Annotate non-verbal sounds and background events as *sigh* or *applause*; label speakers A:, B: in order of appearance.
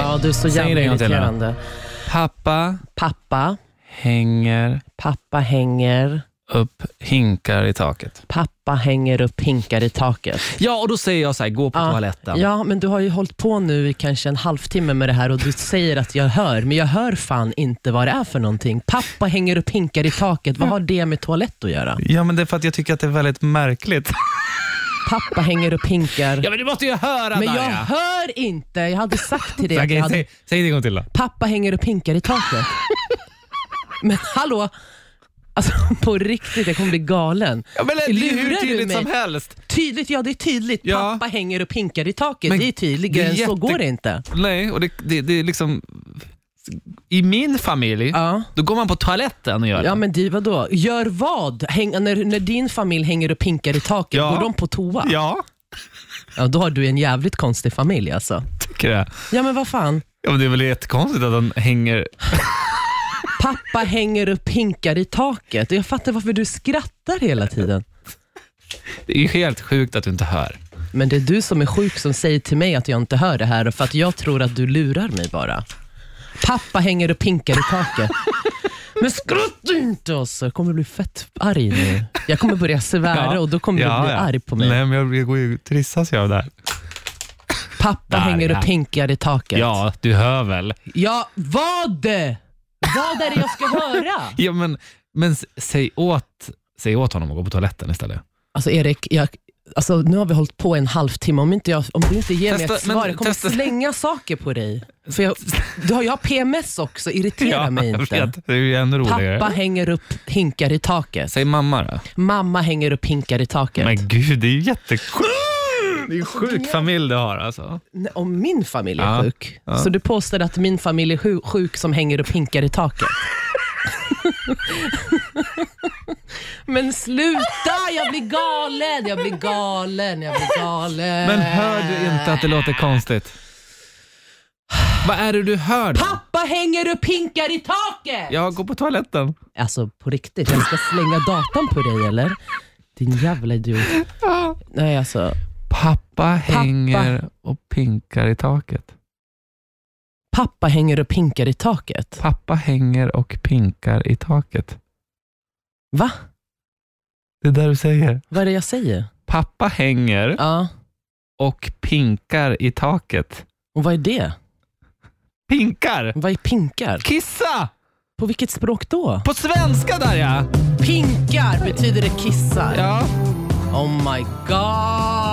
A: Ja, du är så
B: Säg
A: jävla
B: det en gång till,
A: irriterande.
B: Pappa
A: Pappa,
B: hänger
A: pappa hänger,
B: upp hinkar i taket.
A: pappa hänger upp hinkar i taket.
B: Ja, och då säger jag så här, gå på
A: Ja.
B: toaletten.
A: Ja, men du har ju hållit på nu i kanske en halvtimme med det här och du säger att jag hör, men jag hör fan inte vad det är för någonting. Pappa hänger upp hinkar i taket. Vad har det med toalett att göra?
B: Ja, men det är för att jag tycker att det är väldigt märkligt.
A: Pappa hänger upp hinkar.
B: *laughs* Ja, men du måste ju höra
A: Men jag
B: Darja.
A: hör inte. Jag hade sagt till dig att
B: Okej,
A: jag hade
B: säg, säg det en gång till då.
A: pappa hänger upp hinkar i taket. Men hallå, alltså på riktigt, jag kommer bli galen.
B: Ja, men det är ju hur
A: Lurar du
B: tydligt
A: mig?
B: som helst.
A: Tydligt, ja det är tydligt.
B: Ja.
A: Pappa hänger upp hinkar i taket.
B: Men
A: det är tydligare
B: det är
A: än så
B: jätte-
A: går det inte.
B: Nej, och det, det, det är liksom... I min familj,
A: Ja.
B: då går man på toaletten och gör
A: Ja
B: det.
A: men det, vadå? Gör vad? Häng, när, när din familj hänger upp hinkar i taket,
B: Ja.
A: går de på toa? Ja.
B: Ja,
A: Då har du en jävligt konstig familj alltså.
B: tycker jag.
A: Ja men vad fan.
B: Ja, men det är väl jättekonstigt att den hänger...
A: Pappa hänger upp hinkar i taket. Jag fattar varför du skrattar hela tiden.
B: Det är ju helt sjukt att du inte hör.
A: Men det är du som är sjuk som säger till mig att jag inte hör det här för att jag tror att du lurar mig bara. Pappa hänger upp hinkar i taket. Men skratta inte alltså. Jag kommer bli fett arg nu. Jag kommer börja svära och då kommer du bli arg på mig.
B: Nej, men jag, jag går ju trissas jag av det här.
A: Pappa
B: Där,
A: hänger
B: ja.
A: upp hinkar i taket.
B: Ja, du hör väl?
A: Ja, vad? Vad är det jag ska höra?
B: Ja, men, men s- säg, åt, säg åt honom att gå på toaletten istället.
A: Alltså Erik, jag, alltså, nu har vi hållit på en halvtimme. Om, inte jag, om du inte ger
B: Testa-
A: mig ett svar,
B: men
A: jag kommer
B: testa-
A: slänga saker på dig. För jag, du har, jag har PMS också, irritera mig
B: jag
A: inte.
B: vet. Det är ju ännu roligare.
A: Pappa hänger upp hinkar i taket.
B: Säg mamma då.
A: Mamma hänger upp hinkar i taket.
B: Men gud, det är ju jättesjukt. Det är en sjuk familj du har alltså.
A: Nej, Om min familj är
B: Ja,
A: sjuk.
B: ja.
A: Så du påstår att min familj är sju- sjuk som hänger upp hinkar i taket? *laughs* Men sluta! Jag blir galen! Jag blir galen! Jag blir galen!
B: Men hör du inte att det låter konstigt? Vad är det du hör då?
A: Pappa hänger upp hinkar i taket!
B: Jag går på toaletten.
A: Alltså på riktigt, jag ska slänga datan på dig eller? Din jävla idiot. Nej alltså,
B: Pappa hänger och pinkar i taket.
A: pappa hänger upp hinkar i taket.
B: Pappa hänger och pinkar i taket.
A: Va?
B: Det är där du säger.
A: Vad är det jag säger?
B: Pappa hänger
A: Ja,
B: och pinkar i taket.
A: och vad är det?
B: Pinkar!
A: Vad är pinkar?
B: Kissa!
A: På vilket språk då?
B: På svenska där ja!
A: Pinkar, betyder det kissar?
B: Ja.
A: Oh my god!